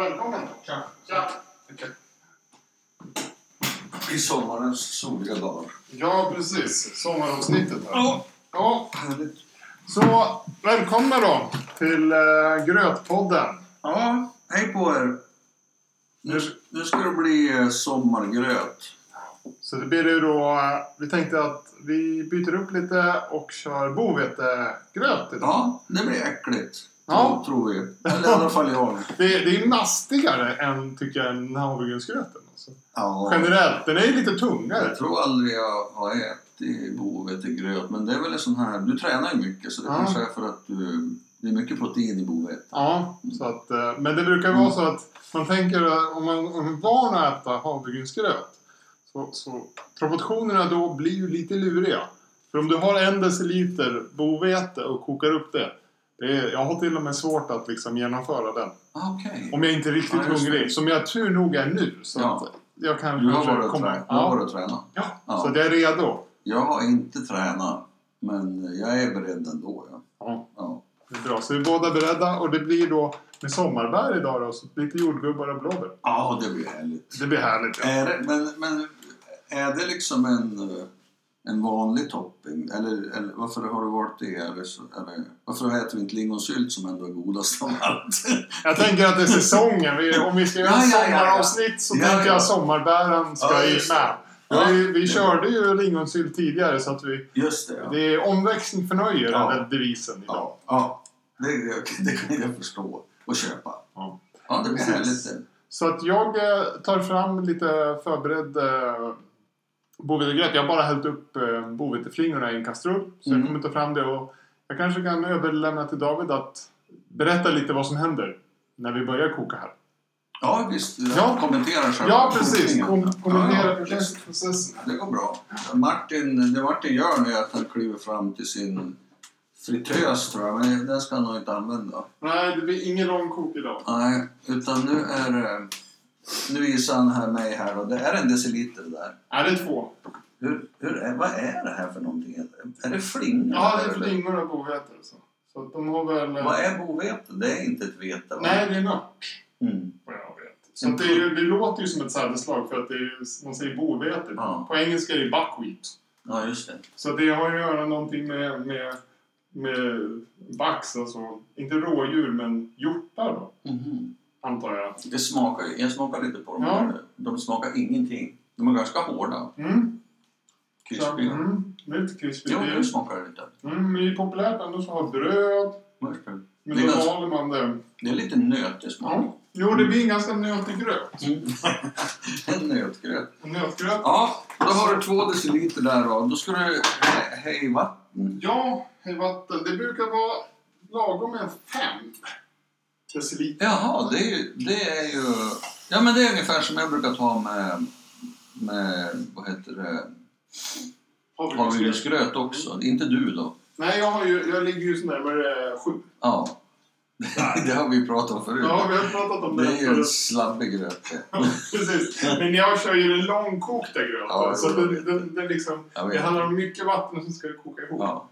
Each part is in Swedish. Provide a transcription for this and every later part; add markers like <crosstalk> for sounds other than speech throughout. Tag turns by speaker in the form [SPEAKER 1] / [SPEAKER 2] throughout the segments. [SPEAKER 1] välkommen.
[SPEAKER 2] Tja.
[SPEAKER 1] Tja.
[SPEAKER 3] I sommarens soliga dagar.
[SPEAKER 1] Ja, precis. Sommaravsnittet här.
[SPEAKER 2] Ja.
[SPEAKER 1] Ja,
[SPEAKER 3] Härligt.
[SPEAKER 1] så välkomna då till eh, Grötpodden.
[SPEAKER 3] Ja, hej på er. Nu, nu ska det bli eh, sommargröt.
[SPEAKER 1] Så det blir ju då, eh, vi tänkte att vi byter upp lite och kör bovetegröt idag.
[SPEAKER 3] Ja, det blir äckligt.
[SPEAKER 1] Ja.
[SPEAKER 3] Tror- Tror vi. Eller i alla fall jag.
[SPEAKER 1] Det, är- det är mastigare än, tycker jag, än havregrynsgröten. Alltså.
[SPEAKER 3] Ja.
[SPEAKER 1] Generellt, den är ju lite tungare.
[SPEAKER 3] Jag tror aldrig jag har ätit bovetegröt. Men det är väl en sån här... Du tränar ju mycket så det
[SPEAKER 1] Ja.
[SPEAKER 3] kanske är för att du... Det är mycket protein i bovete.
[SPEAKER 1] Ja, så att, eh, men det brukar vara så att man tänker eh, om man, om man är van att äta havregrynsgröt så, så proportionerna då blir ju lite luriga. För om du har en deciliter bovete och kokar upp det. det är, jag har till och med svårt att liksom genomföra den.
[SPEAKER 3] Ah, Okej.
[SPEAKER 1] Om jag inte är riktigt
[SPEAKER 3] Ja, just det.
[SPEAKER 1] hungrig. Som jag tur nog är nu. Så
[SPEAKER 3] Ja.
[SPEAKER 1] att jag kan
[SPEAKER 3] Du har
[SPEAKER 1] kanske
[SPEAKER 3] varit och
[SPEAKER 1] komma-
[SPEAKER 3] trä- du har
[SPEAKER 1] Ja,
[SPEAKER 3] varit och tränat.
[SPEAKER 1] ja.
[SPEAKER 3] Ja.
[SPEAKER 1] så att jag är redo.
[SPEAKER 3] Jag har inte tränat. Men jag är beredd ändå. Ja.
[SPEAKER 1] Ja.
[SPEAKER 3] ja.
[SPEAKER 1] Det är bra. Så vi är båda beredda och det blir då med sommarbär idag då. Så lite jordgubbar och blåbär.
[SPEAKER 3] Ja, det blir härligt.
[SPEAKER 1] Det blir härligt. Ja.
[SPEAKER 3] Är det, Eh, men, men är det liksom en, eh, en vanlig topping? Eller, eller varför har du valt det? Är det så, är det, varför äter vi inte lingonsylt som ändå är godast av
[SPEAKER 1] <laughs>
[SPEAKER 3] allt?
[SPEAKER 1] Jag tänker
[SPEAKER 3] <laughs>
[SPEAKER 1] att det är säsongen. Vi, om vi ska göra
[SPEAKER 3] Ja,
[SPEAKER 1] ett
[SPEAKER 3] ja, ja, ja.
[SPEAKER 1] sommaravsnitt så
[SPEAKER 3] Ja,
[SPEAKER 1] tänker
[SPEAKER 3] ja.
[SPEAKER 1] jag sommarbären ska
[SPEAKER 3] Ja,
[SPEAKER 1] ju
[SPEAKER 3] just det.
[SPEAKER 1] med.
[SPEAKER 3] Ja.
[SPEAKER 1] Vi, vi körde ju lingonsylt tidigare så att vi...
[SPEAKER 3] Just det, ja.
[SPEAKER 1] Det är omväxling förnöjer
[SPEAKER 3] Ja.
[SPEAKER 1] den där devisen idag.
[SPEAKER 3] Ja, ja. Det, det kan jag förstå och köpa.
[SPEAKER 1] Ja.
[SPEAKER 3] Ja, det blir
[SPEAKER 1] Precis.
[SPEAKER 3] härligt det.
[SPEAKER 1] Så att jag eh, tar fram lite förberedd eh, bovetegröt. Jag har bara hällt upp eh, boveteflingorna i en kastrull. Så
[SPEAKER 3] Mm.
[SPEAKER 1] jag kommer ta fram det och jag kanske kan överlämna till David att berätta lite vad som händer när vi börjar koka här.
[SPEAKER 3] Ja, visst.
[SPEAKER 1] Ja.
[SPEAKER 3] Ja. Kommentera själva
[SPEAKER 1] Ja, precis.
[SPEAKER 3] kokningen.
[SPEAKER 1] Kom, kommentera
[SPEAKER 3] Ja, ja, visst.
[SPEAKER 1] processen.
[SPEAKER 3] Det går bra. Martin, det Martin gör nu är att han kliver fram till sin fritös tror jag, men den ska han nog inte använda.
[SPEAKER 1] Nej, det blir ingen lång kok idag.
[SPEAKER 3] Nej, utan nu är det... Nu visar han här mig här då. Det är en deciliter där.
[SPEAKER 1] Nej, det är två.
[SPEAKER 3] Hur, hur är, vad är det här för någonting? Är det flingor?
[SPEAKER 1] Ja, det är
[SPEAKER 3] eller?
[SPEAKER 1] flingor och boveter. och Så. så att de har väl... eh,
[SPEAKER 3] Vad är bovete? Det är inte ett vete va?
[SPEAKER 1] Nej, det är en ört.
[SPEAKER 3] Mm.
[SPEAKER 1] Vad jag vet. Så att det, är, ju- det låter ju som ett sädesslag för att det är, ju- man säger bovete.
[SPEAKER 3] Ja.
[SPEAKER 1] På engelska är det buckwheat.
[SPEAKER 3] Ja, just det.
[SPEAKER 1] Så det har ju att göra någonting med, med, med vax, alltså inte rådjur men hjortar då,
[SPEAKER 3] Mhm.
[SPEAKER 1] antar jag.
[SPEAKER 3] Det smakar ju... Jag smakar lite på dem.
[SPEAKER 1] Ja.
[SPEAKER 3] här. De smakar ingenting. De är ganska hårda.
[SPEAKER 1] Mm. Så,
[SPEAKER 3] Krispiga.
[SPEAKER 1] mm, lite krispigt.
[SPEAKER 3] Jo,
[SPEAKER 1] Det
[SPEAKER 3] nu
[SPEAKER 1] är-
[SPEAKER 3] smakar det lite.
[SPEAKER 1] Mm, men det är populärt ändå så att ha bröd,
[SPEAKER 3] Vad är det?
[SPEAKER 1] men
[SPEAKER 3] Det är
[SPEAKER 1] då
[SPEAKER 3] ganska-
[SPEAKER 1] maler man det.
[SPEAKER 3] Det är lite nötig smak.
[SPEAKER 1] Ja. Jo, det blir en ganska nötig gröt.
[SPEAKER 3] Mm. <laughs> en nötgröt.
[SPEAKER 1] En Nötgröt?
[SPEAKER 3] Ja, då har du två deciliter där då. Då ska du... he- Hej, vatten.
[SPEAKER 1] Ja, i vatten. Det brukar vara lagom med fem deciliter.
[SPEAKER 3] Jaha, det är, ju- det är ju... Ja, men det är ungefär som jag brukar ta med, med vad heter det,
[SPEAKER 1] Havregrynsgröt.
[SPEAKER 3] havregrynsgröt också.
[SPEAKER 1] Mm.
[SPEAKER 3] Inte du då?
[SPEAKER 1] Nej, jag, har ju, jag ligger ju så närmare eh, sju.
[SPEAKER 3] Ja. <laughs> Det har vi pratat om förut.
[SPEAKER 1] Ja, vi har pratat om
[SPEAKER 3] Det
[SPEAKER 1] det.
[SPEAKER 3] är ju
[SPEAKER 1] förut.
[SPEAKER 3] en slabbig gröt det.
[SPEAKER 1] <laughs> Precis. Men jag kör ju den långkokta gröten.
[SPEAKER 3] Ja, det
[SPEAKER 1] så
[SPEAKER 3] är
[SPEAKER 1] att den,
[SPEAKER 3] roligt.
[SPEAKER 1] den, den liksom,
[SPEAKER 3] Jag
[SPEAKER 1] det
[SPEAKER 3] vet.
[SPEAKER 1] handlar om mycket vatten som ska koka ihop.
[SPEAKER 3] Ja.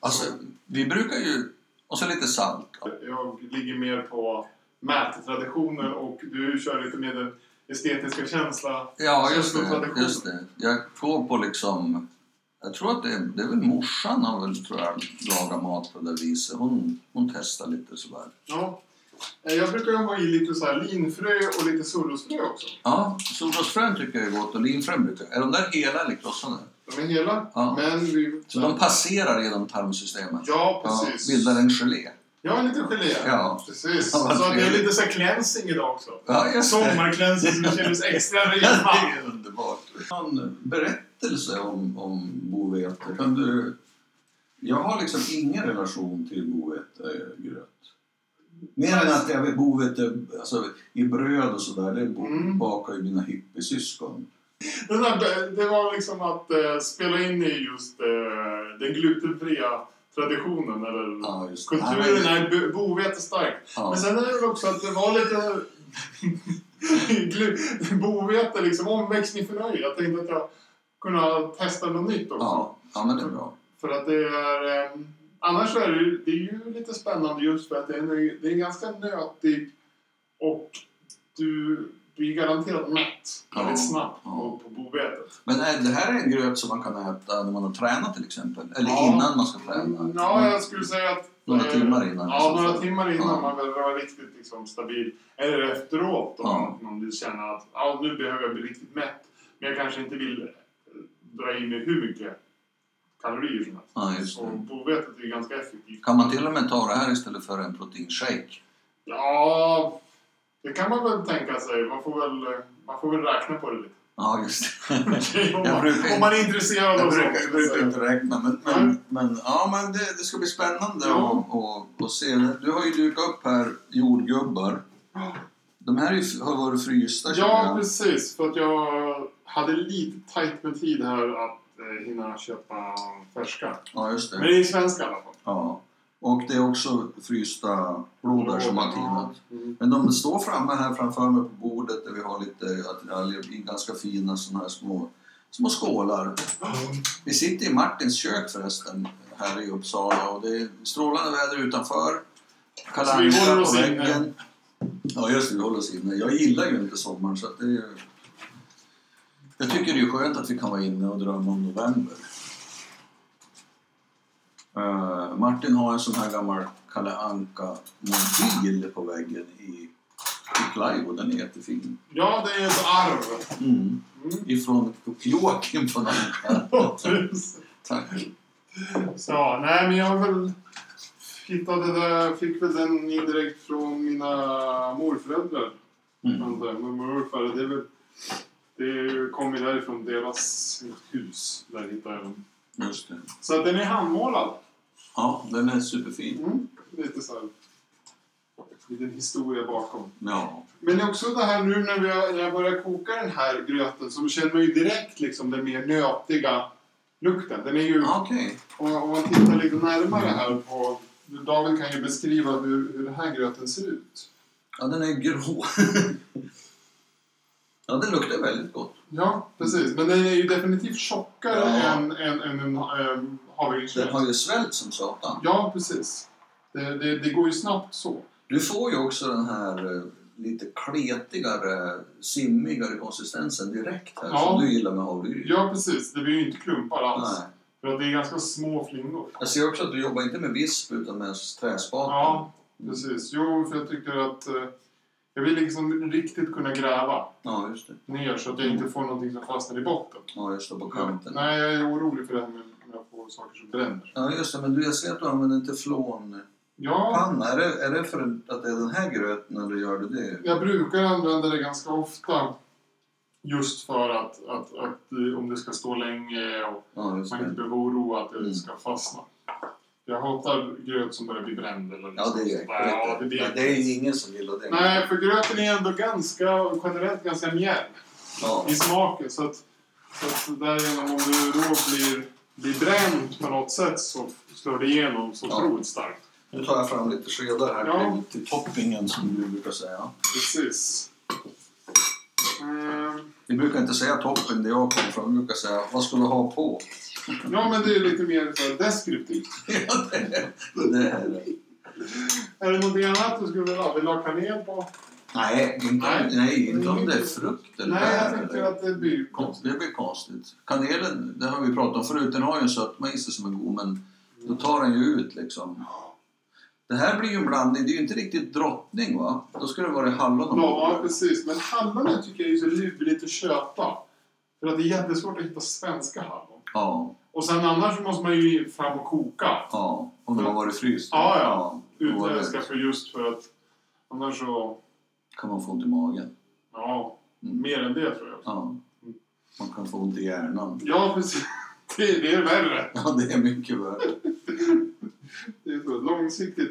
[SPEAKER 3] Alltså, vi brukar ju... Och så lite salt.
[SPEAKER 1] Jag ligger mer på mättraditionen och du kör lite med den estetiska känslan.
[SPEAKER 3] Ja, just
[SPEAKER 1] Salt och
[SPEAKER 3] det.
[SPEAKER 1] tradition.
[SPEAKER 3] Just det. Jag går på liksom... Jag tror att det är, det är väl morsan har väl, tror jag, lagat mat på det där viset. Hon, hon testar lite sådär.
[SPEAKER 1] Ja. Eh, Jag brukar ju ha i lite så här linfrö och lite solrosfrö också.
[SPEAKER 3] Ja, solrosfrön tycker jag är gott och linfrön brukar Är de där hela eller krossade?
[SPEAKER 1] De är hela.
[SPEAKER 3] Ja.
[SPEAKER 1] Men vi...
[SPEAKER 3] Så de passerar genom tarmsystemet?
[SPEAKER 1] Ja,
[SPEAKER 3] Ja,
[SPEAKER 1] precis.
[SPEAKER 3] bildar en gelé?
[SPEAKER 1] Jag har lite gelé.
[SPEAKER 3] Ja.
[SPEAKER 1] Precis.
[SPEAKER 3] Ja,
[SPEAKER 1] så
[SPEAKER 3] vad
[SPEAKER 1] att det är
[SPEAKER 3] trevligt.
[SPEAKER 1] lite så här cleansing idag också.
[SPEAKER 3] Ja, just det.
[SPEAKER 1] Sommarcleansing som kändes extra
[SPEAKER 3] <laughs> Det
[SPEAKER 1] rejält.
[SPEAKER 3] är underbart. Någon berättelse om, om bovete? Kan du... Jag har liksom ingen relation till bovetegröt. Mer än att jag vet bovete alltså, i bröd och sådär, det bo-
[SPEAKER 1] Mm.
[SPEAKER 3] bakar ju mina hippiesyskon.
[SPEAKER 1] Den där, det var liksom att eh, spela in i just eh, den glutenfria traditionen eller
[SPEAKER 3] Ja, just det.
[SPEAKER 1] kulturen är bo- bovete starkt.
[SPEAKER 3] Ja.
[SPEAKER 1] Men sen är det väl också att det var lite glu- <laughs> bovete, liksom omväxling för nöje. Jag tänkte att jag kunde testa något nytt också.
[SPEAKER 3] Ja. ja, men det är bra.
[SPEAKER 1] För att det är... Eh, annars är det, ju- det är ju lite spännande just för att det är, en- det är en ganska nötig och du blir garanterat mätt
[SPEAKER 3] Ja.
[SPEAKER 1] väldigt snabbt
[SPEAKER 3] Ja.
[SPEAKER 1] på, på bovetet.
[SPEAKER 3] Men är, det här är en gröt som man kan äta när man har tränat till exempel? Eller
[SPEAKER 1] Ja.
[SPEAKER 3] innan man ska träna? Mm.
[SPEAKER 1] Ja, jag skulle säga att...
[SPEAKER 3] Några
[SPEAKER 1] eh,
[SPEAKER 3] timmar innan? i
[SPEAKER 1] Ja,
[SPEAKER 3] så
[SPEAKER 1] några
[SPEAKER 3] fall.
[SPEAKER 1] timmar innan
[SPEAKER 3] Ja.
[SPEAKER 1] man väl var riktigt liksom, stabil. Eller efteråt om
[SPEAKER 3] Ja.
[SPEAKER 1] man vill känna att ja, nu behöver jag bli riktigt mätt. Men jag kanske inte vill eh, dra i mig hur mycket kalorier som helst.
[SPEAKER 3] Ja, just
[SPEAKER 1] Så
[SPEAKER 3] det.
[SPEAKER 1] bovetet är ju ganska effektivt.
[SPEAKER 3] Kan man till och med ta det här istället för en proteinshake?
[SPEAKER 1] Ja, det kan man väl tänka sig. Man får väl, eh, man får väl räkna på det lite.
[SPEAKER 3] Ja, just
[SPEAKER 1] <laughs>
[SPEAKER 3] det.
[SPEAKER 1] om,
[SPEAKER 3] Jag
[SPEAKER 1] man,
[SPEAKER 3] brukar-
[SPEAKER 1] om man är intresserad
[SPEAKER 3] Jag
[SPEAKER 1] av
[SPEAKER 3] brukar,
[SPEAKER 1] sånt.
[SPEAKER 3] jag brukar inte räkna, men, men,
[SPEAKER 1] Nej.
[SPEAKER 3] men, ja, men det, det ska bli spännande
[SPEAKER 1] Mm. Ja.
[SPEAKER 3] att och, och se. Du har ju dukat upp här jordgubbar. De här är ju, har varit frysta, känner
[SPEAKER 1] Ja,
[SPEAKER 3] jag.
[SPEAKER 1] precis. För att jag hade lite tajt med tid här att eh, hinna köpa färska.
[SPEAKER 3] Ja, just
[SPEAKER 1] Men
[SPEAKER 3] det.
[SPEAKER 1] det är svenska i alla fall.
[SPEAKER 3] Ja. Och det är också frysta blodar som har tinat.
[SPEAKER 1] Mm.
[SPEAKER 3] Men de står framme här framför mig på bordet där vi har lite attiraljer i ganska fina såna här små, små skålar. Vi sitter i Martins kök förresten här i Uppsala och det är strålande väder utanför.
[SPEAKER 1] Så vi håller
[SPEAKER 3] Kalanka på
[SPEAKER 1] oss inne.
[SPEAKER 3] väggen. Ja just det, vi håller oss inne. Jag gillar ju inte sommaren så att det är ju... Jag tycker det är skönt att vi kan vara inne och drömma om november. Eh, Martin har en sån här gammal Kalle Anka-mobil på väggen i, i plywood. Den är jättefin.
[SPEAKER 1] Ja, det är ett arv.
[SPEAKER 3] Mm.
[SPEAKER 1] Mm.
[SPEAKER 3] Ifrån Joakim von Anka. <laughs> Tack.
[SPEAKER 1] Så, nej men jag har väl hittade det där, fick väl den indirekt från mina morföräldrar.
[SPEAKER 3] Mm.
[SPEAKER 1] antar jag. Men morfar, det är väl, det kom ju därifrån deras hus. Där hittade jag den.
[SPEAKER 3] Just det.
[SPEAKER 1] Så att den är handmålad.
[SPEAKER 3] Ja, den är superfin.
[SPEAKER 1] Mm. Lite så här. Liten historia bakom.
[SPEAKER 3] Ja.
[SPEAKER 1] Men också det här nu när, vi har, när jag börjar koka den här gröten så känner man ju direkt liksom den mer nötiga lukten. Den är ju,
[SPEAKER 3] Ja, Okej.
[SPEAKER 1] om, om man tittar lite närmare här på, David kan ju beskriva hur, hur den här gröten ser ut.
[SPEAKER 3] Ja, den är grå. <laughs> ja, den luktar väldigt gott.
[SPEAKER 1] Ja, precis. Men den är ju definitivt tjockare
[SPEAKER 3] Ja.
[SPEAKER 1] än, än, än en ähm,
[SPEAKER 3] Den
[SPEAKER 1] havregrynsgröt.
[SPEAKER 3] har ju svällt som satan.
[SPEAKER 1] Ja, precis. Det, det, det går ju snabbt så.
[SPEAKER 3] Du får ju också den här eh, lite kletigare, simmigare konsistensen direkt här
[SPEAKER 1] Ja.
[SPEAKER 3] som du gillar med havregryn.
[SPEAKER 1] Ja, precis. Det blir ju inte klumpar alls.
[SPEAKER 3] Nej.
[SPEAKER 1] För att det är ganska små flingor.
[SPEAKER 3] Jag ser också att du jobbar inte med visp utan med träspaken.
[SPEAKER 1] Ja, precis. Jo, för jag tycker att eh, jag vill liksom riktigt kunna gräva
[SPEAKER 3] ja, just det.
[SPEAKER 1] ner så att jag inte får någonting som fastnar i botten.
[SPEAKER 3] Ja, just det, Mm. på kanten.
[SPEAKER 1] Nej, jag är orolig för det här med om jag får saker som bränner.
[SPEAKER 3] Ja, just det, men du, jag ser att du använder en teflonpanna.
[SPEAKER 1] Ja,
[SPEAKER 3] Är det, är det för att det är den här gröten eller gör du det?
[SPEAKER 1] jag brukar använda det ganska ofta. Just för att, att, att eh, om det ska stå länge och
[SPEAKER 3] Ja, just
[SPEAKER 1] man inte
[SPEAKER 3] det.
[SPEAKER 1] behöver oroa att
[SPEAKER 3] Mm.
[SPEAKER 1] det ska fastna. Jag hatar gröt som börjar bli bränd. Eller
[SPEAKER 3] Ja, det är
[SPEAKER 1] sånt där. Ja, det,
[SPEAKER 3] ju
[SPEAKER 1] blir...
[SPEAKER 3] Det är ju ingen som gillar det.
[SPEAKER 1] Nej, för gröten är ändå ganska, generellt ganska mjäll.
[SPEAKER 3] Ja.
[SPEAKER 1] i smaken. Så att, så att därigenom om du då blir, blir bränd på något sätt så slår det igenom så
[SPEAKER 3] Ja.
[SPEAKER 1] otroligt starkt.
[SPEAKER 3] Nu tar jag fram lite skedar här
[SPEAKER 1] Ja.
[SPEAKER 3] till, till toppingen som du brukar säga.
[SPEAKER 1] Precis. Ehm,
[SPEAKER 3] Vi brukar inte säga topping där jag kommer från. Vi brukar säga vad ska du ha på?
[SPEAKER 1] ja, men det är lite mer så här deskriptivt.
[SPEAKER 3] Ja, det är- det är det.
[SPEAKER 1] Är det någonting annat du skulle vilja ha? Vill du ha kanel på?
[SPEAKER 3] Nej, inte, nej.
[SPEAKER 1] Nej.
[SPEAKER 3] inte om det är frukt eller
[SPEAKER 1] Nej,
[SPEAKER 3] bär
[SPEAKER 1] jag tänker
[SPEAKER 3] eller-
[SPEAKER 1] att det blir konstigt.
[SPEAKER 3] Det blir konstigt. Kanelen, det har vi pratat om förut, den har ju en sötma i sig som är god men då tar den ju ut liksom. Det här blir ju en blandning, det är ju inte riktigt drottning va? Då skulle det vara hallon och
[SPEAKER 1] Ja, precis. Men hallonen tycker jag är så lurigt att köpa. För att det är jättesvårt att hitta svenska hallon.
[SPEAKER 3] ja,
[SPEAKER 1] Och sen annars måste man ju fram och koka.
[SPEAKER 3] ja, om de har varit fryst.
[SPEAKER 1] Ja, ja.
[SPEAKER 3] då var det-
[SPEAKER 1] Utländska för just för att annars så...
[SPEAKER 3] kan man få ont i magen.
[SPEAKER 1] Ja,
[SPEAKER 3] Mm.
[SPEAKER 1] mer än det tror jag.
[SPEAKER 3] Ja. Man kan få ont i hjärnan.
[SPEAKER 1] Ja, precis. <laughs> Det är, det är värre.
[SPEAKER 3] Ja, det är mycket värre.
[SPEAKER 1] Det är så långsiktigt.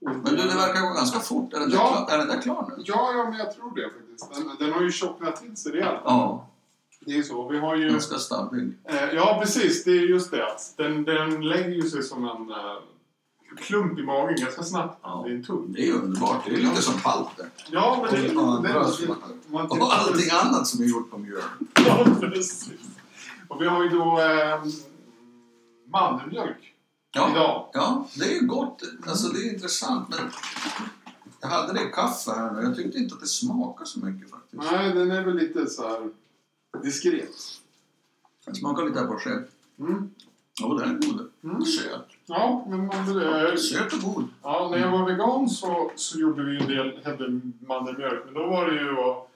[SPEAKER 3] Men du, det verkar gå ganska fort. Är den,
[SPEAKER 1] Ja.
[SPEAKER 3] där, klar, är den där klar nu?
[SPEAKER 1] Ja, ja, men jag tror det faktiskt. Den, den har ju tjocknat till sig rejält.
[SPEAKER 3] Ja,
[SPEAKER 1] Det är ju så. Vi har ju...
[SPEAKER 3] ganska stabil.
[SPEAKER 1] Eh, ja, precis. Det är just det. att Den, den lägger ju sig som en eh, klump i magen ganska snabbt.
[SPEAKER 3] Ja.
[SPEAKER 1] Det är en tubb.
[SPEAKER 3] Det är underbart. Det är lite som palter.
[SPEAKER 1] Ja, men det är
[SPEAKER 3] Och andra som-
[SPEAKER 1] Om man tittar-
[SPEAKER 3] Och allting annat som är gjort på mjöl.
[SPEAKER 1] Ja, precis. Och vi har ju då eh, mandelmjölk
[SPEAKER 3] Ja,
[SPEAKER 1] idag.
[SPEAKER 3] ja, det är ju gott. Alltså, det är intressant. Men Jag hade det i kaffe här nu. Jag tyckte inte att det smakade så mycket faktiskt.
[SPEAKER 1] Nej, den är väl lite så här diskret.
[SPEAKER 3] Det smakar lite apelsin.
[SPEAKER 1] Mm.
[SPEAKER 3] Jo, den är god.
[SPEAKER 1] Mm.
[SPEAKER 3] Söt.
[SPEAKER 1] Ja, men man, eh,
[SPEAKER 3] Söt och god.
[SPEAKER 1] ja, när jag var vegan så, så gjorde vi ju en del hade mandelmjölk. Men då var det ju att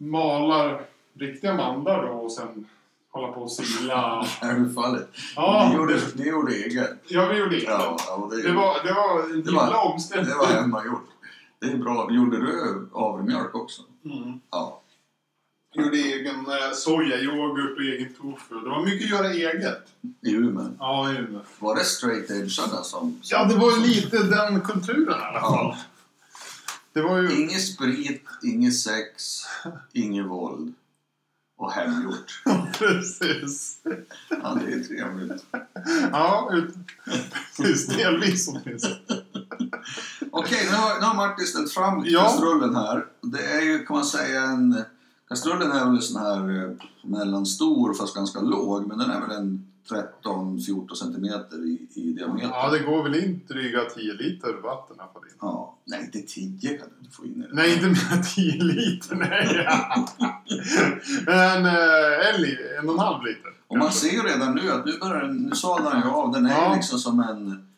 [SPEAKER 1] mala riktiga mandlar då och sen hålla på och sila.
[SPEAKER 3] Är du fallet? Ni
[SPEAKER 1] Ja,
[SPEAKER 3] gjorde, ni gjorde egen.
[SPEAKER 1] ja vi gjorde det.
[SPEAKER 3] Ja, ja, det,
[SPEAKER 1] Det var, det var en
[SPEAKER 3] Det var-
[SPEAKER 1] himla omställning.
[SPEAKER 3] det var hemmagjort. Det är bra. Gjorde du havremjölk också?
[SPEAKER 1] Mm.
[SPEAKER 3] Ja.
[SPEAKER 1] Gjorde egen eh, sojayoghurt och egen tofu. Det var mycket att göra eget.
[SPEAKER 3] I Umeå.
[SPEAKER 1] Ja, ju.
[SPEAKER 3] Var det straight edgearna som...
[SPEAKER 1] ja, det var lite den kulturen i alla fall.
[SPEAKER 3] Ja.
[SPEAKER 1] Det var ju... <laughs>
[SPEAKER 3] Inget sprit, inget sex, inget våld. Och hemgjort.
[SPEAKER 1] Precis.
[SPEAKER 3] Ja, det är trevligt.
[SPEAKER 1] Ja, ut... precis. Delvis åtminstone.
[SPEAKER 3] Okej, nu har, nu har Martin ställt fram
[SPEAKER 1] Ja.
[SPEAKER 3] kastrullen här. Det är ju, kan man säga, en... Kastrullen är väl en sån här eh, mellanstor fast ganska låg, men den är väl en 13-14 centimeter i, i diameter.
[SPEAKER 1] Ja, det går väl in dryga 10 liter vatten här på din.
[SPEAKER 3] Ja. Nej, inte 10 kan du inte få in i den.
[SPEAKER 1] Nej, inte mer än 10 liter. Nej.
[SPEAKER 3] <laughs>
[SPEAKER 1] Men eh, en, li- en och en halv liter.
[SPEAKER 3] Och man
[SPEAKER 1] kanske.
[SPEAKER 3] ser ju redan nu att nu börjar den, nu sadlar den ju av. Den är
[SPEAKER 1] Ja.
[SPEAKER 3] ju liksom som en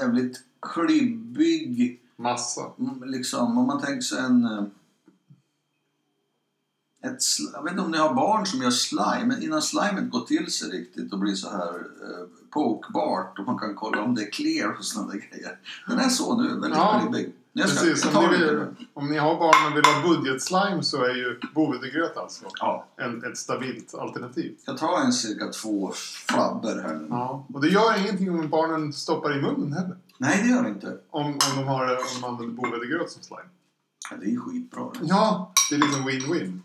[SPEAKER 3] jävligt klibbig
[SPEAKER 1] Massa.
[SPEAKER 3] Mm, liksom, om man tänker sig en... eh, Ett sli- jag vet inte om ni har barn som gör slime, men innan slimet går till sig riktigt och blir så här eh, pokbart och man kan kolla om det är clear och sådana där grejer. Den är så nu, väldigt
[SPEAKER 1] Ja,
[SPEAKER 3] klibbig. Jag ska
[SPEAKER 1] Precis,
[SPEAKER 3] jag
[SPEAKER 1] om
[SPEAKER 3] tar
[SPEAKER 1] ni,
[SPEAKER 3] lite
[SPEAKER 1] vill,
[SPEAKER 3] nu.
[SPEAKER 1] om ni har barn och vill ha budgetslime så är ju bovedegröt alltså
[SPEAKER 3] Ja,
[SPEAKER 1] en, ett stabilt alternativ.
[SPEAKER 3] jag tar en cirka två flabber här nu.
[SPEAKER 1] Ja. Och det gör ingenting om barnen stoppar i munnen heller.
[SPEAKER 3] Nej, det gör det inte.
[SPEAKER 1] Om, om, de, har, om de använder bovedegröt som slime.
[SPEAKER 3] Ja, det är skitbra. det.
[SPEAKER 1] Ja, det är liksom win-win.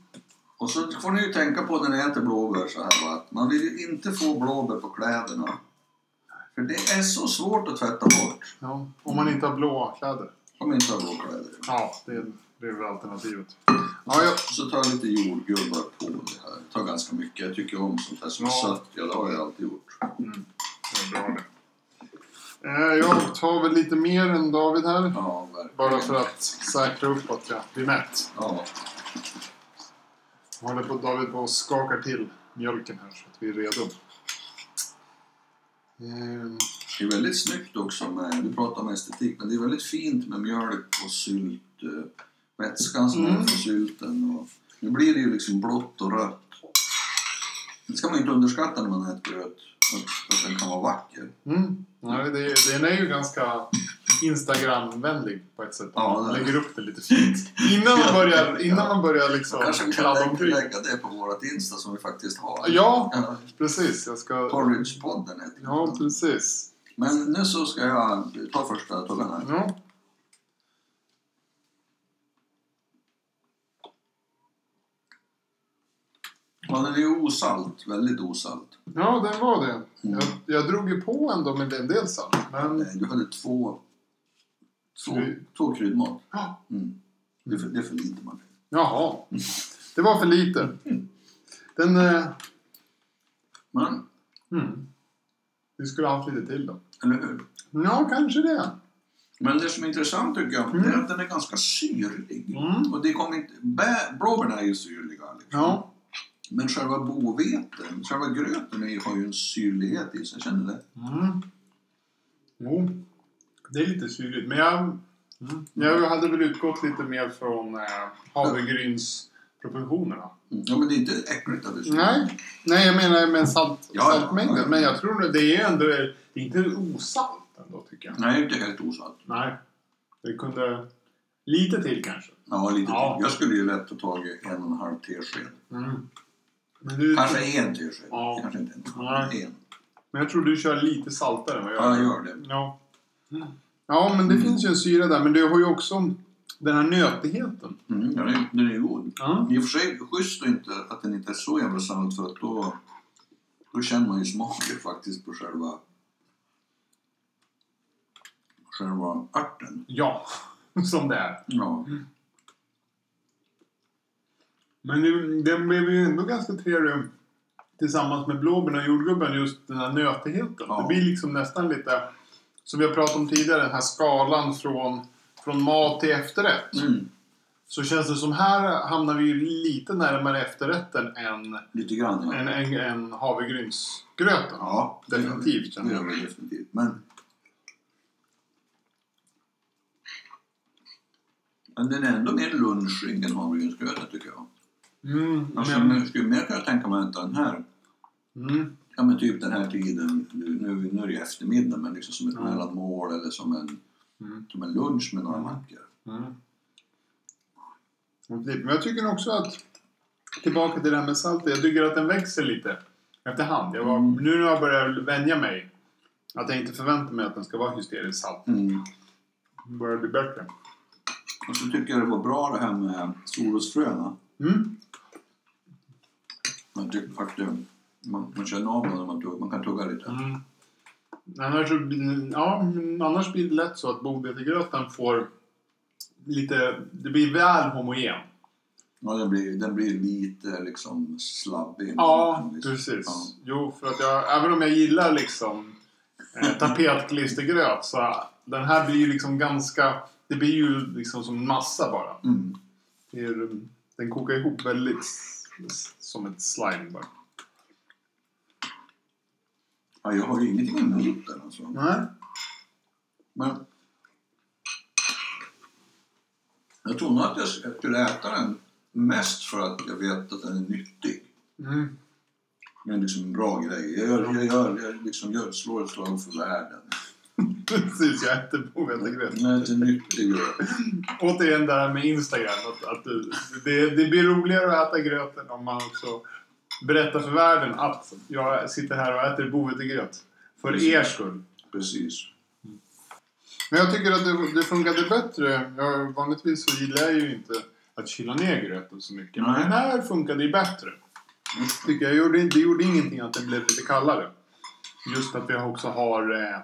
[SPEAKER 3] Och så får ni ju tänka på när ni äter blåbär så här va, att man vill ju inte få blåbär på kläderna. För det är så svårt att tvätta bort.
[SPEAKER 1] Ja. Om
[SPEAKER 3] Mm.
[SPEAKER 1] man inte har blåa kläder.
[SPEAKER 3] Om inte har blåkläder.
[SPEAKER 1] Ja, det är, det är väl alternativet. Ja, ja.
[SPEAKER 3] Så tar jag lite jordgubbar på det här. Jag tar ganska mycket. Jag tycker om sånt här som är
[SPEAKER 1] Ja.
[SPEAKER 3] sött. Ja, det har jag alltid gjort.
[SPEAKER 1] Det är bra det. Eh, Jag tar väl lite mer än David här.
[SPEAKER 3] Ja, verkligen.
[SPEAKER 1] Bara för att säkra upp att jag blir mätt.
[SPEAKER 3] Ja.
[SPEAKER 1] Nu håller på David på och skakar till mjölken här så att vi är redo. Ehm,
[SPEAKER 3] Det är väldigt snyggt också med... Du pratar om estetik, men det är väldigt fint med mjölk och sylt. eh, Vätskan som
[SPEAKER 1] Mm.
[SPEAKER 3] är från sylten. Och, nu blir det ju liksom blått och rött. Det ska man ju inte underskatta när man äter gröt. Att, att den kan vara vacker.
[SPEAKER 1] Mm. Nej, det, den är ju ganska Instagram-vänlig på ett sätt.
[SPEAKER 3] Ja,
[SPEAKER 1] man
[SPEAKER 3] det är
[SPEAKER 1] lägger upp det lite fint. Innan man börjar, innan
[SPEAKER 3] Ja.
[SPEAKER 1] man börjar liksom
[SPEAKER 3] Kanske vi kan
[SPEAKER 1] kladda
[SPEAKER 3] lä-
[SPEAKER 1] omkring.
[SPEAKER 3] lägga det på vårt Insta som vi faktiskt har.
[SPEAKER 1] Ja,
[SPEAKER 3] Ja,
[SPEAKER 1] precis. Jag ska...
[SPEAKER 3] Porridgepodden heter den.
[SPEAKER 1] Ja, precis.
[SPEAKER 3] Men nu så ska jag ta första tuggan här.
[SPEAKER 1] Ja.
[SPEAKER 3] Ja, den är ju osalt. Väldigt osalt.
[SPEAKER 1] ja, den var det.
[SPEAKER 3] Mm.
[SPEAKER 1] Jag, jag drog ju på ändå med en del salt. Men
[SPEAKER 3] Eh, Du hade två, två,
[SPEAKER 1] Kry-
[SPEAKER 3] två kryddmått.
[SPEAKER 1] Ja.
[SPEAKER 3] Mm. Det, är för, det är för lite man.
[SPEAKER 1] jaha, det var för lite. Den... Eh,
[SPEAKER 3] Men,
[SPEAKER 1] mm. Vi skulle ha haft lite till då.
[SPEAKER 3] eller hur?
[SPEAKER 1] Ja, kanske det.
[SPEAKER 3] Men det som är intressant tycker jag, det är
[SPEAKER 1] Mm.
[SPEAKER 3] att den är ganska syrlig.
[SPEAKER 1] Mm.
[SPEAKER 3] Och det kommer inte... Bä, blåbärna är ju syrliga. Liksom.
[SPEAKER 1] Ja.
[SPEAKER 3] Men själva boveten, själva gröten är, ju- har ju en syrlighet i sig. Känner du det?
[SPEAKER 1] Mm. Jo, det är lite syrligt. Men jag,
[SPEAKER 3] Mm.
[SPEAKER 1] jag hade väl utgått lite mer från eh, havregrynsproportionerna.
[SPEAKER 3] Mm. Ja, men det är inte äckligt att det är syrligt.
[SPEAKER 1] Nej. Nej, jag menar med salt,
[SPEAKER 3] Ja, ja.
[SPEAKER 1] saltmängden. Men jag tror att det är ändå det är inte osalt ändå tycker jag.
[SPEAKER 3] Nej, det är helt osalt.
[SPEAKER 1] Nej. Det kunde... Lite till kanske.
[SPEAKER 3] Ja, lite
[SPEAKER 1] Ja.
[SPEAKER 3] till. Jag skulle ju lätt ha tagit en och en halv tesked.
[SPEAKER 1] Mm. Men, du,
[SPEAKER 3] Kanske en tesked.
[SPEAKER 1] Ja.
[SPEAKER 3] Kanske inte en.
[SPEAKER 1] Nej.
[SPEAKER 3] En.
[SPEAKER 1] men jag tror du kör lite saltare än vad jag
[SPEAKER 3] Ja, jag gör det.
[SPEAKER 1] Ja. Ja, men det
[SPEAKER 3] Mm.
[SPEAKER 1] finns ju en syra där. Men du har ju också den här nötigheten.
[SPEAKER 3] Mm, ja, den, är- den är god.
[SPEAKER 1] Ja.
[SPEAKER 3] I och för sig schysst att inte, att den inte är så jävla salt för att då, då känner man ju smaken faktiskt på själva själva örten.
[SPEAKER 1] Ja, <laughs> som det är.
[SPEAKER 3] Ja.
[SPEAKER 1] Men nu, den blev ju ändå ganska trevlig tillsammans med blåbären och jordgubben, just den här nötigheten.
[SPEAKER 3] Ja.
[SPEAKER 1] Det blir liksom nästan lite, som vi har pratat om tidigare, den här skalan från från mat till efterrätt.
[SPEAKER 3] Mm.
[SPEAKER 1] Så känns det som här hamnar vi ju lite närmare efterrätten än,
[SPEAKER 2] Lite grann. ja.
[SPEAKER 1] än, än, än havregrynsgröten.
[SPEAKER 2] Ja, det gör vi.
[SPEAKER 1] Definitivt, känner
[SPEAKER 2] Det
[SPEAKER 1] jag.
[SPEAKER 2] gör vi definitivt. Men...
[SPEAKER 3] Men den är ändå mer lunchig än havregrynsgröten tycker jag.
[SPEAKER 1] Mm,
[SPEAKER 3] Jag
[SPEAKER 1] men,
[SPEAKER 3] skulle- skulle mer kunna tänka mig att den här,
[SPEAKER 1] mm,
[SPEAKER 3] ja men typ den här tiden, nu, nu, nu är det ju eftermiddag men liksom som ett
[SPEAKER 1] Mm.
[SPEAKER 3] mellanmål eller som en,
[SPEAKER 1] Mm.
[SPEAKER 3] som en lunch med några
[SPEAKER 1] Mm.
[SPEAKER 3] mackor.
[SPEAKER 1] mm. Och typ, Men jag tycker nog också att, tillbaka till det här med saltet, jag tycker att den växer lite efterhand. Jag var,
[SPEAKER 3] Mm.
[SPEAKER 1] Nu när jag börjar vänja mig, att jag inte förväntar mig att den ska vara hysteriskt salt.
[SPEAKER 3] Mm.
[SPEAKER 1] Den börjar bli bättre.
[SPEAKER 3] Och så tycker jag det var bra det här med solrosfröna.
[SPEAKER 1] Mm.
[SPEAKER 3] Man tycker faktiskt, man, man känner av dem när man tuggar, man kan tugga lite.
[SPEAKER 1] Mm. Annars, så blir- ja, men annars blir det lätt så att bovetegröten får lite, det blir väl homogen.
[SPEAKER 3] Ja, den blir, den blir lite liksom slabbig.
[SPEAKER 1] Ja,
[SPEAKER 3] Liksom.
[SPEAKER 1] precis.
[SPEAKER 3] Ja.
[SPEAKER 1] Jo, för att jag, även om jag gillar liksom eh, tapetklistergröt så den här blir ju liksom ganska, det blir ju liksom som en massa bara.
[SPEAKER 3] Mm.
[SPEAKER 1] Det är, den kokar ihop väldigt s- s- som ett slime bara.
[SPEAKER 3] Ja, jag har ju ingenting emot den alltså.
[SPEAKER 1] Nej.
[SPEAKER 3] Men jag tror nog att jag skulle äta den mest för att jag vet att den är nyttig.
[SPEAKER 1] Mm. <laughs>
[SPEAKER 3] Det är liksom en bra grej. Jag, gör, jag, gör, jag liksom gör, slår ett slag för världen.
[SPEAKER 1] Precis, jag äter bovetegröt.
[SPEAKER 3] Den är inte nyttig gröt.
[SPEAKER 1] Återigen det här med Instagram. Att, att du, det, det blir roligare att äta gröten om man också berättar för världen att jag sitter här och äter bovetegröt. För er skull.
[SPEAKER 3] Precis.
[SPEAKER 1] Men jag tycker att det, det funkade bättre. Jag, vanligtvis så gillar jag ju inte att kyla ner gröten så mycket. Men
[SPEAKER 3] Nej.
[SPEAKER 1] den här funkade ju bättre. Tycker jag gjorde, det gjorde ingenting att den blev lite kallare. Just att vi också har eh,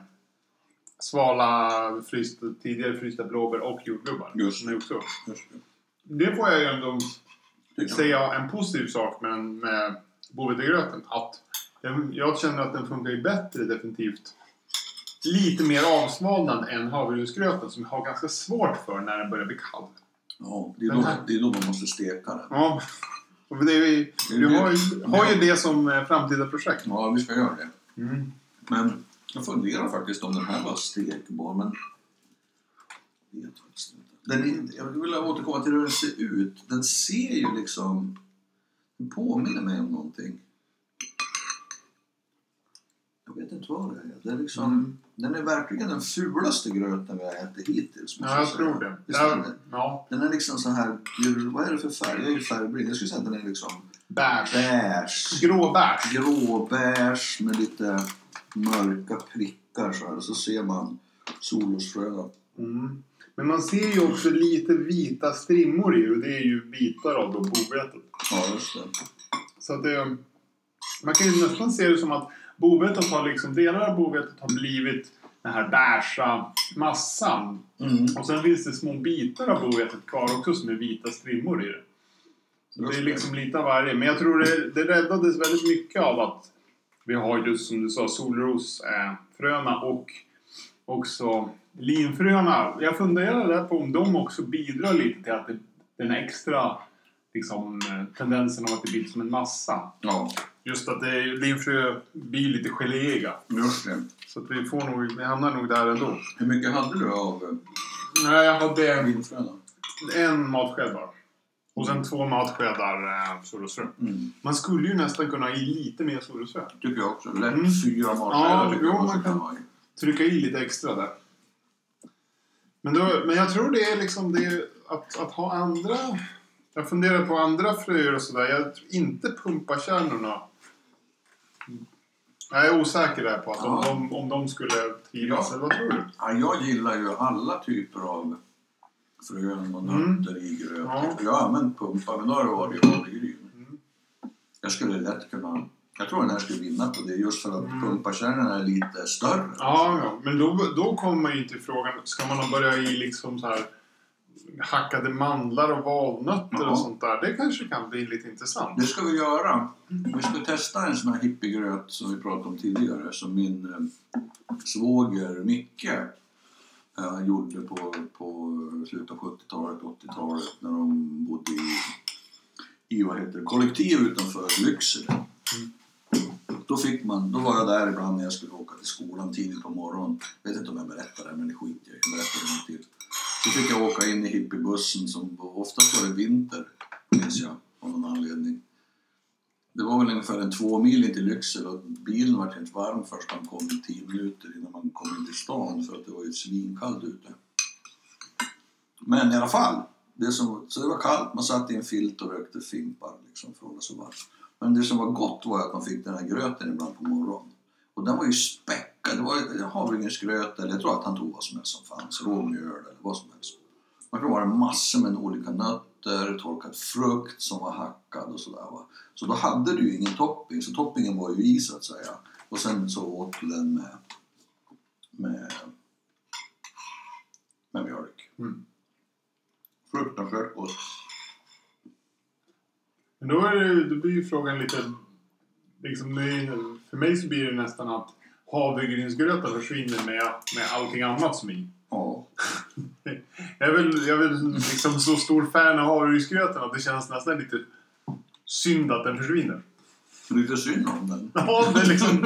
[SPEAKER 1] svala, frysta, tidigare frysta blåbär och jordgubbar.
[SPEAKER 3] Just
[SPEAKER 1] det. Också.
[SPEAKER 3] Just det.
[SPEAKER 1] Det får jag ju ändå
[SPEAKER 3] Tycker jag.
[SPEAKER 1] säga en positiv sak med, med bovetegröten. Att jag, jag känner att den funkar ju bättre definitivt. Lite mer avsmalnad än havregrynsgröten som jag har ganska svårt för när den börjar bli kall.
[SPEAKER 3] Ja, det är,
[SPEAKER 1] Den
[SPEAKER 3] då,
[SPEAKER 1] här-
[SPEAKER 3] det är då man måste steka den.
[SPEAKER 1] Ja. Och det är, vi vi har, ju, har ju det som eh, framtida projekt.
[SPEAKER 3] Ja, vi ska göra det.
[SPEAKER 1] Mm.
[SPEAKER 3] Men jag funderar faktiskt om den här var stekbar, men... Jag vet faktiskt inte. Den är, jag vill återkomma till hur den ser ut. Den ser ju liksom... Den påminner mig om någonting. Jag vet inte vad det är. Det är liksom,
[SPEAKER 1] Mm.
[SPEAKER 3] Den är verkligen den fulaste gröten vi har ätit hittills. måste
[SPEAKER 1] Ja, jag
[SPEAKER 3] säga.
[SPEAKER 1] tror det.
[SPEAKER 3] Visst är
[SPEAKER 1] Ja,
[SPEAKER 3] det?
[SPEAKER 1] ja.
[SPEAKER 3] Den är liksom så här... gul- Vad är det för färg? Jag är ju färgblind. Jag skulle säga att den är liksom
[SPEAKER 1] Bärs.
[SPEAKER 3] beige
[SPEAKER 1] Gråbärs.
[SPEAKER 3] gråbärs med lite mörka prickar så här. Och så ser man solrosfröna.
[SPEAKER 1] Mm. Men man ser ju också lite vita strimmor i det, och det är ju bitar av då bovetet.
[SPEAKER 3] Ja, just det.
[SPEAKER 1] Så att det, man kan ju nästan se det som att bovetet har liksom, delar av bovetet har blivit den här beiga massan.
[SPEAKER 3] Mm.
[SPEAKER 1] Och sen finns det små bitar av bovetet kvar också som är vita strimmor i det. Så det är liksom lite av varje. Men jag tror det, det räddades väldigt mycket av att vi har just som du sa solrosfröna eh, fröna och också linfröna. Jag funderar där på om de också bidrar lite till att det, den extra liksom, eh, tendensen av att det blir som en massa.
[SPEAKER 3] Ja,
[SPEAKER 1] Just att det, linfrö blir lite geléiga.
[SPEAKER 3] just det.
[SPEAKER 1] Så att vi, får nog, vi hamnar nog där ändå.
[SPEAKER 3] Hur mycket hade du av
[SPEAKER 1] Nej, jag hade
[SPEAKER 3] eh,
[SPEAKER 1] en,
[SPEAKER 3] vinfröna?
[SPEAKER 1] en matsked bara. Och sen två matskedar eh, solrosfrö.
[SPEAKER 3] Mm.
[SPEAKER 1] Mm. Man skulle ju nästan kunna ha i lite mer solrosfrö.
[SPEAKER 3] Tycker jag också. Lätt
[SPEAKER 1] Mm.
[SPEAKER 3] fyra
[SPEAKER 1] Ja,
[SPEAKER 3] matskedar tycker
[SPEAKER 1] jo,
[SPEAKER 3] jag
[SPEAKER 1] man
[SPEAKER 3] också
[SPEAKER 1] kan-
[SPEAKER 3] kan ha i.
[SPEAKER 1] Trycka i lite extra där. Men, då, men jag tror det är liksom det är att, att ha andra... Jag funderar på andra fröer och sådär. Jag tror inte pumpakärnorna. Jag är osäker där på att om,
[SPEAKER 3] Ja.
[SPEAKER 1] de, om de skulle trivas.
[SPEAKER 3] Ja.
[SPEAKER 1] Eller vad tror du?
[SPEAKER 3] Ja, jag gillar ju alla typer av frön och
[SPEAKER 1] Mm.
[SPEAKER 3] nötter i gröt.
[SPEAKER 1] Ja.
[SPEAKER 3] Jag har använt pumpa, men då har det varit havregryn.
[SPEAKER 1] Mm.
[SPEAKER 3] Jag skulle lätt kunna... Jag tror den här skulle vinna på det just för att
[SPEAKER 1] Mm.
[SPEAKER 3] pumpakärnorna är lite större.
[SPEAKER 1] Ja, ja. men då, då kommer man ju till frågan. Ska man ha börja i liksom så här hackade mandlar och valnötter
[SPEAKER 3] Ja.
[SPEAKER 1] och sånt där? Det kanske kan bli lite intressant.
[SPEAKER 3] Det ska vi göra. Vi ska testa en sån här hippiegröt som vi pratade om tidigare som min eh, svåger Micke eh, han gjorde på, på slutet av 70-talet, 80-talet när de bodde i, i vad heter det, kollektiv utanför Lycksele. Då, fick man, då var jag där ibland när jag skulle åka till skolan tidigt på morgonen. Jag vet inte om jag berättar det här, men det skiter jag i. Jag berättar det en gång till. Så fick jag åka in i hippiebussen som oftast var det vinter, minns jag, av någon anledning. Det var väl ungefär en två mil in till Lycksele och bilen var helt varm först man kom i tio minuter innan man kom in till stan för att det var ju svinkallt ute. Men i alla fall, det som, så det var kallt, man satt i en filt och rökte fimpar liksom för att hålla sig varm. Men det som var gott var att man fick den här gröten ibland på morgonen. Och den var ju späckad, det var havregrynsgröt eller jag tror att han tog vad som helst som fanns, råmjöl eller vad som helst. Man provade massor med olika nötter, torkad frukt som var hackad och sådär. Va? Så då hade du ju ingen topping, så toppingen var ju i så att säga. Och sen så åt du den med, med, med mjölk.
[SPEAKER 1] Mm.
[SPEAKER 3] Fruktansvärt gott.
[SPEAKER 1] Men då, är det, då blir ju frågan lite... Liksom det är, för mig så blir det nästan att havregrynsgröten försvinner med, med allting annat som är i.
[SPEAKER 3] Ja.
[SPEAKER 1] Jag är väl, jag är väl liksom så stor fan av havregrynsgröten att det känns nästan lite synd att den försvinner. <laughs>
[SPEAKER 3] Lite synd om den.
[SPEAKER 1] Ja, det, är liksom,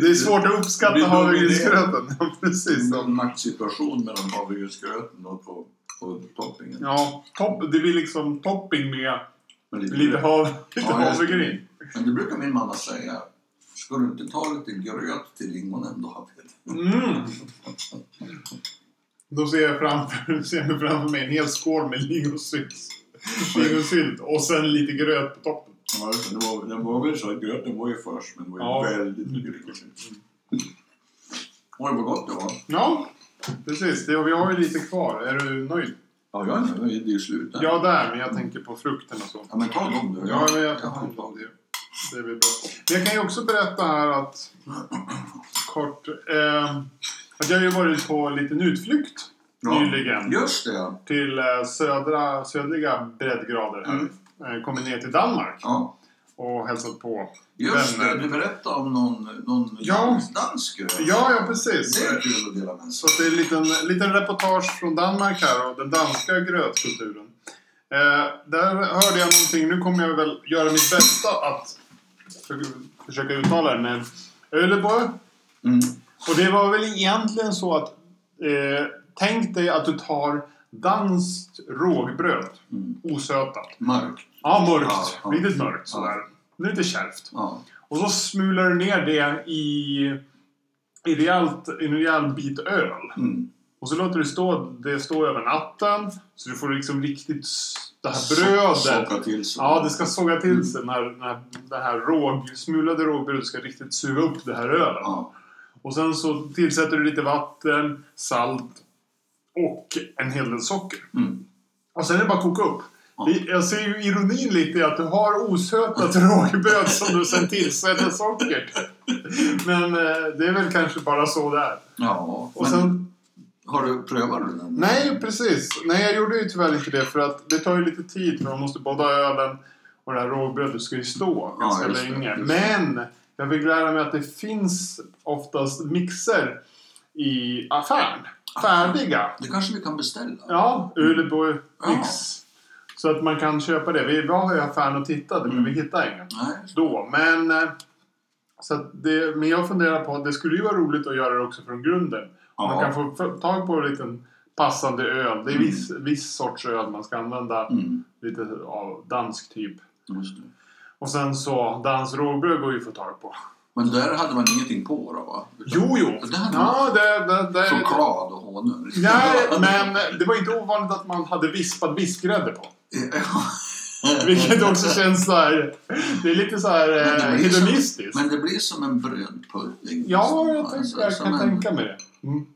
[SPEAKER 1] det är svårt att
[SPEAKER 3] Det
[SPEAKER 1] uppskatta
[SPEAKER 3] blir
[SPEAKER 1] havregrynsgröten. <laughs> Ja, precis.
[SPEAKER 3] Det var en maktsituation mellan havregrynsgröten och, och, och toppingen.
[SPEAKER 1] Ja, topp, det blir liksom topping med
[SPEAKER 3] Men
[SPEAKER 1] lite, hav, lite
[SPEAKER 3] Ja, just det.
[SPEAKER 1] havregryn.
[SPEAKER 3] Men det brukar min mamma säga. Ska du inte ta lite gröt till lingonen då?
[SPEAKER 1] Mm. Då ser jag framför, <laughs> ser jag framför mig en hel skål med lingonsylt. Lingonsylt och sen lite gröt på toppen.
[SPEAKER 3] Ja, just det. Det var, det var väl så att gröten var ju först, men det var ju
[SPEAKER 1] Ja. Mm.
[SPEAKER 3] väldigt mycket lingon. Oj, vad gott det var.
[SPEAKER 1] Ja, precis. Det, vi har ju lite kvar. Är du nöjd?
[SPEAKER 3] Ja, jag är nöjd. Det är ju slut där.
[SPEAKER 1] Ja, där. Men jag tänker på frukten och så.
[SPEAKER 3] Ja, men ta dem du.
[SPEAKER 1] Ja, men jag tar
[SPEAKER 3] jag har
[SPEAKER 1] hand
[SPEAKER 3] inte
[SPEAKER 1] om det. Det blir bra. Men jag kan ju också berätta här att... Kort. Eh, att jag har ju varit på en liten utflykt
[SPEAKER 3] Ja.
[SPEAKER 1] nyligen.
[SPEAKER 3] Just det, ja.
[SPEAKER 1] Till eh, södra, södliga breddgrader här.
[SPEAKER 3] Mm.
[SPEAKER 1] Eh, kommit ner till Danmark
[SPEAKER 3] ja.
[SPEAKER 1] och hälsat på.
[SPEAKER 3] Just
[SPEAKER 1] Vänner.
[SPEAKER 3] det, du berättade om någon, någon
[SPEAKER 1] Ja.
[SPEAKER 3] dansk gröt.
[SPEAKER 1] Ja, ja precis.
[SPEAKER 3] Det är kul att dela med sig.
[SPEAKER 1] Så att det är en liten, liten reportage från Danmark här och den danska grötkulturen. Eh, där hörde jag någonting, nu kommer jag väl göra mitt bästa att försöka, försöka uttala den. eh, Öleborg.
[SPEAKER 3] Mm.
[SPEAKER 1] Och det var väl egentligen så att eh, tänk dig att du tar danskt rågbröd,
[SPEAKER 3] Mm.
[SPEAKER 1] osötat.
[SPEAKER 3] Mörkt.
[SPEAKER 1] Ja,
[SPEAKER 3] Ja,
[SPEAKER 1] mörkt.
[SPEAKER 3] ja.
[SPEAKER 1] Lite mörkt sådär. Lite kärvt.
[SPEAKER 3] Ja.
[SPEAKER 1] Och så smular du ner det i, i rejält, i en rejäl bit öl.
[SPEAKER 3] Mm.
[SPEAKER 1] Och så låter du stå, det stå över natten. Så du får liksom riktigt s- det här
[SPEAKER 3] So-
[SPEAKER 1] brödet.
[SPEAKER 3] Socka till Mm. så.
[SPEAKER 1] Ja, det ska såga till sig när, när det här råg, smulade rågbrödet ska riktigt suga upp det här ölen.
[SPEAKER 3] Ja.
[SPEAKER 1] Och sen så tillsätter du lite vatten, salt och en hel del socker.
[SPEAKER 3] Mm.
[SPEAKER 1] Och sen är det bara att koka upp.
[SPEAKER 3] Ja.
[SPEAKER 1] Det- Jag ser ju ironin lite i att du har
[SPEAKER 3] <laughs>
[SPEAKER 1] osötat rågbröd som du sen tillsätter socker. Men eh, det är väl kanske bara så där.
[SPEAKER 3] ja.
[SPEAKER 1] Och
[SPEAKER 3] Men
[SPEAKER 1] sen
[SPEAKER 3] har du prövat den?
[SPEAKER 1] Nej, precis. Nej, jag gjorde ju tyvärr inte det för att det tar ju lite tid för man måste båda ölen och det här rågbrödet ska ju stå
[SPEAKER 3] Ja,
[SPEAKER 1] ganska
[SPEAKER 3] just det,
[SPEAKER 1] länge.
[SPEAKER 3] just det.
[SPEAKER 1] Men jag fick lära mig att det finns oftast mixer i affären.
[SPEAKER 3] Ah.
[SPEAKER 1] Färdiga.
[SPEAKER 3] Det kanske vi kan beställa?
[SPEAKER 1] Ja, Uleborg
[SPEAKER 3] Ja.
[SPEAKER 1] mix. Så att man kan köpa det. Vi var i affären och tittade men vi
[SPEAKER 3] Mm.
[SPEAKER 1] hittade ingen
[SPEAKER 3] Nej.
[SPEAKER 1] då. Men, eh, så att det, men jag funderar på att det skulle ju vara roligt att göra det också från grunden.
[SPEAKER 3] Ja.
[SPEAKER 1] Man kan få f- tag på en liten passande öl. Det är viss, viss sorts öl man ska använda.
[SPEAKER 3] Mm.
[SPEAKER 1] Lite av dansk typ.
[SPEAKER 3] Just det.
[SPEAKER 1] Och sen så, dans rågbröd går ju att få tag på.
[SPEAKER 3] Men där hade man ingenting på då va? Utan
[SPEAKER 1] Jo, jo!
[SPEAKER 3] Det hade
[SPEAKER 1] Ja, det... det, det
[SPEAKER 3] Choklad och honung. <laughs>
[SPEAKER 1] Nej, men det var inte ovanligt att man hade vispad vispgrädde på. Vilket också känns så här... Det är lite så här
[SPEAKER 3] Mm. Men
[SPEAKER 1] eh,
[SPEAKER 3] det blir ju så-
[SPEAKER 1] hedonistiskt.
[SPEAKER 3] Men det blir som en brödpudding.
[SPEAKER 1] Ja,
[SPEAKER 3] liksom,
[SPEAKER 1] jag,
[SPEAKER 3] va?
[SPEAKER 1] tänkte,
[SPEAKER 3] Alltså,
[SPEAKER 1] jag
[SPEAKER 3] som
[SPEAKER 1] kan
[SPEAKER 3] en-
[SPEAKER 1] tänka mig det. Mm.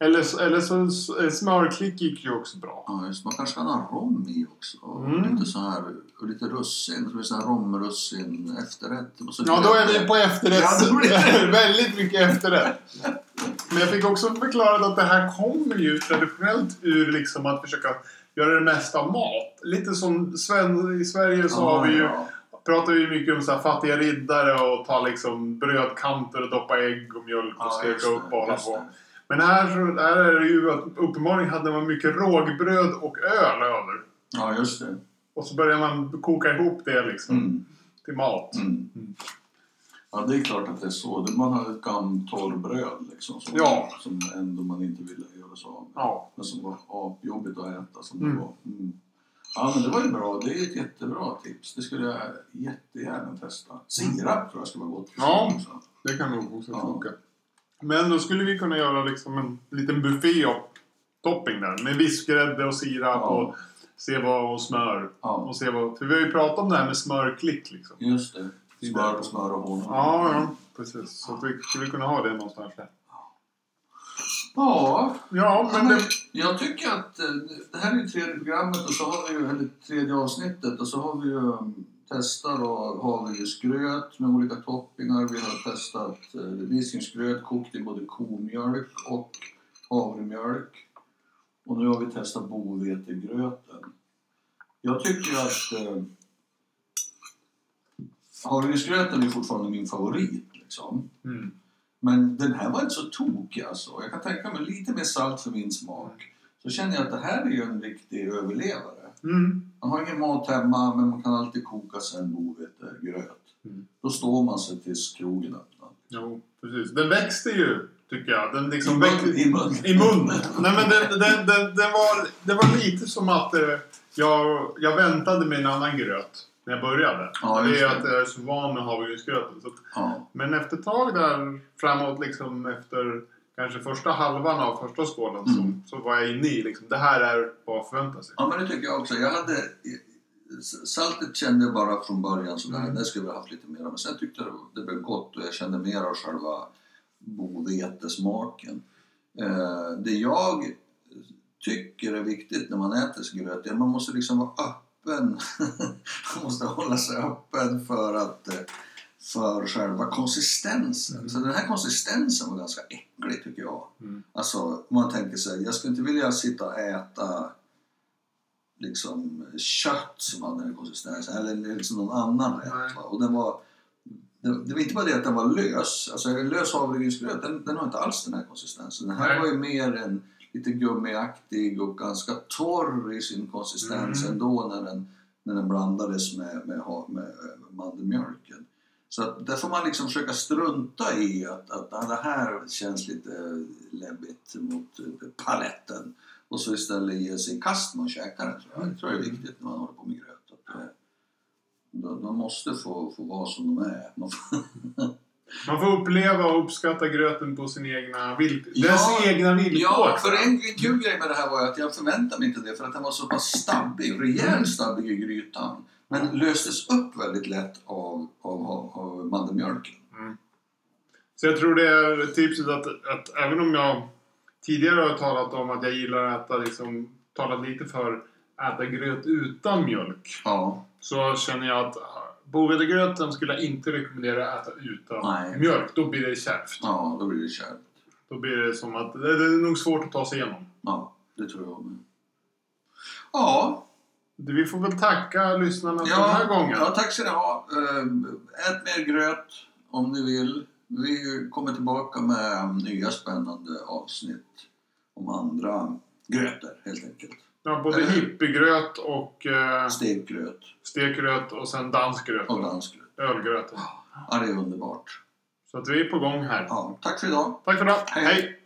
[SPEAKER 1] Eller, så- eller så, så- smörklick gick ju också bra.
[SPEAKER 3] Ja, just, det. man kanske kan ha rom i också. Och
[SPEAKER 1] Mm.
[SPEAKER 3] lite så här, och lite russin. Så det blir sån här romrussin efterrätt. Och så
[SPEAKER 1] Ja, då är vi på efterrätt.
[SPEAKER 3] Ja, då blir det-
[SPEAKER 1] <laughs> Väldigt mycket efterrätt. Men jag fick också förklarat att det här kommer ju traditionellt ur liksom att försöka göra det mesta av mat. Lite som Sven, i Sverige så har vi ju,
[SPEAKER 3] Ah, Ja,
[SPEAKER 1] pratar vi ju mycket om så här fattiga riddare och ta liksom brödkanter och doppa ägg och mjölk och
[SPEAKER 3] ja,
[SPEAKER 1] steka
[SPEAKER 3] Ah, just det,
[SPEAKER 1] upp och hålla
[SPEAKER 3] just
[SPEAKER 1] på.
[SPEAKER 3] det.
[SPEAKER 1] Men här, så- här är det ju att uppenbarligen hade man mycket rågbröd och öl över.
[SPEAKER 3] Ja, just det.
[SPEAKER 1] Och så börjar man koka ihop det liksom
[SPEAKER 3] Mm.
[SPEAKER 1] till mat.
[SPEAKER 3] Mm. Ja, det är klart att det är så. Det- Man hade ett gammalt torrbröd liksom, som,
[SPEAKER 1] Ja.
[SPEAKER 3] som ändå man inte ville göra sig av med.
[SPEAKER 1] Ja.
[SPEAKER 3] Men som var apjobbigt att äta som
[SPEAKER 1] Mm.
[SPEAKER 3] det var. Mm. Ja, men det var ju bra. Det är ett jättebra tips. Det skulle jag jättegärna testa. Sirap tror jag skulle vara gott. för
[SPEAKER 1] Mm. Ja.
[SPEAKER 3] sig också.
[SPEAKER 1] Det kan nog också
[SPEAKER 3] Ja.
[SPEAKER 1] funka. Men då skulle vi kunna göra liksom en liten buffé av topping där. Med vispgrädde och sirap
[SPEAKER 3] Ja.
[SPEAKER 1] och, se vad, och smör.
[SPEAKER 3] Ja,
[SPEAKER 1] Och se vad, för vi har ju pratat om det här med smörklick liksom.
[SPEAKER 3] just det.
[SPEAKER 1] Det är
[SPEAKER 3] Smör
[SPEAKER 1] där.
[SPEAKER 3] på smör och honung.
[SPEAKER 1] Ja, ja. Precis. Så att vi skulle kunna ha det någonstans där.
[SPEAKER 3] ja.
[SPEAKER 1] Ja, men det...
[SPEAKER 3] Jag tycker att eh, det här är ju tredje programmet och så har vi ju, eller tredje avsnittet och så har vi ju um, testat då havregrynsgröt med olika toppingar. Vi har testat eh, risgrynsgröt kokt i både komjölk och havremjölk. Och nu har vi testat bovetegröten. Jag tycker att eh, havregrynsgröten är fortfarande min favorit liksom.
[SPEAKER 1] Mm.
[SPEAKER 3] Men den här var inte så tokig alltså. Jag kan tänka mig lite mer salt för min smak. Så känner jag att det här är ju en riktig överlevare.
[SPEAKER 1] Mm.
[SPEAKER 3] Man har ingen mat hemma men man kan alltid koka sig en bovetegröt.
[SPEAKER 1] Mm.
[SPEAKER 3] Då står man sig tills krogen öppnar.
[SPEAKER 1] Jo, precis. Den växte ju, tycker jag. Den liksom
[SPEAKER 3] I
[SPEAKER 1] växte...
[SPEAKER 3] mun- I munnen.
[SPEAKER 1] I munnen. Nej men den, den, den, den var, det var lite som att eh, jag, jag väntade mig en annan gröt när jag började.
[SPEAKER 3] Ja,
[SPEAKER 1] det
[SPEAKER 3] just
[SPEAKER 1] är
[SPEAKER 3] det.
[SPEAKER 1] att jag är så van med havregrynsgröten. Så att,
[SPEAKER 3] Ja.
[SPEAKER 1] men efter ett tag där framåt liksom efter kanske första halvan av första skålen
[SPEAKER 3] Mm.
[SPEAKER 1] så, så var jag inne i liksom, det här är vad jag förväntar sig.
[SPEAKER 3] ja, men det tycker jag också. Jag hade... Saltet kände jag bara från början så där,
[SPEAKER 1] Mm.
[SPEAKER 3] där skulle vi haft lite mer Men sen tyckte jag det blev gott och jag kände mer av själva bovetesmaken. Eh, det jag tycker är viktigt när man äter gröt är att man måste liksom vara öppen. <laughs> man måste hålla sig öppen för att eh, för själva konsistensen.
[SPEAKER 1] Mm.
[SPEAKER 3] Så den här konsistensen var ganska äcklig tycker jag.
[SPEAKER 1] Mm.
[SPEAKER 3] Alltså om man tänker sig, jag skulle inte vilja sitta och äta liksom kött som hade den konsistensen eller liksom någon annan
[SPEAKER 1] Nej.
[SPEAKER 3] rätt. Va? Och den var, det, det var inte bara det att den var lös, alltså en lös havregrynsgröt den, den har inte alls den här konsistensen. Den här
[SPEAKER 1] Nej.
[SPEAKER 3] var ju mer en lite gummiaktig och ganska torr i sin konsistens
[SPEAKER 1] Mm.
[SPEAKER 3] ändå när den, när den blandades med, med, ha- med, eh, mandelmjölken. Så att där får man liksom försöka strunta i att, att ah, det här känns lite läbbigt mot eh, paletten och så istället ge sig i kast med att käka den. Tror jag. Det tror jag är viktigt när man håller på med gröt. Att, eh, de, de måste få, få vara som de är. Man får,
[SPEAKER 1] Man får uppleva och uppskatta gröten på sin egna vill...
[SPEAKER 3] Ja.
[SPEAKER 1] dess egna villkor.
[SPEAKER 3] Ja, för en en kul grej med det här var ju att jag förväntade mig inte det för att den var så pass stabbig, rejält stabbig i grytan. Men löstes upp väldigt lätt av, av, av, av mandelmjölken.
[SPEAKER 1] Så jag tror det är tipset att, att även om jag tidigare har talat om att jag gillar att äta, liksom, talat lite för äta gröt utan mjölk.
[SPEAKER 3] Ja,
[SPEAKER 1] Så känner jag att äh, bovetegröten skulle jag inte rekommendera att äta utan
[SPEAKER 3] Nej.
[SPEAKER 1] mjölk. Då blir det kärvt.
[SPEAKER 3] ja då blir det kärvt.
[SPEAKER 1] Då blir det som att det det är nog svårt att ta sig igenom.
[SPEAKER 3] Ja, det tror jag med. Ja,
[SPEAKER 1] Det- Vi får väl tacka lyssnarna för den här
[SPEAKER 3] ja,
[SPEAKER 1] gången.
[SPEAKER 3] ja, tack ska ni ha. Eh, Ät mer gröt om ni vill. Vi kommer tillbaka med nya spännande avsnitt om andra grötor helt enkelt.
[SPEAKER 1] Ja,
[SPEAKER 3] Eh.
[SPEAKER 1] både hippiegröt och eh,
[SPEAKER 3] Stekgröt
[SPEAKER 1] stekgröt och sen dansgröt.
[SPEAKER 3] och dansgröt.
[SPEAKER 1] Ölgröt.
[SPEAKER 3] Ja, det är underbart.
[SPEAKER 1] Så att vi är på gång här.
[SPEAKER 3] Ja, tack för idag.
[SPEAKER 1] Tack för idag.
[SPEAKER 3] Hej.
[SPEAKER 1] Hej.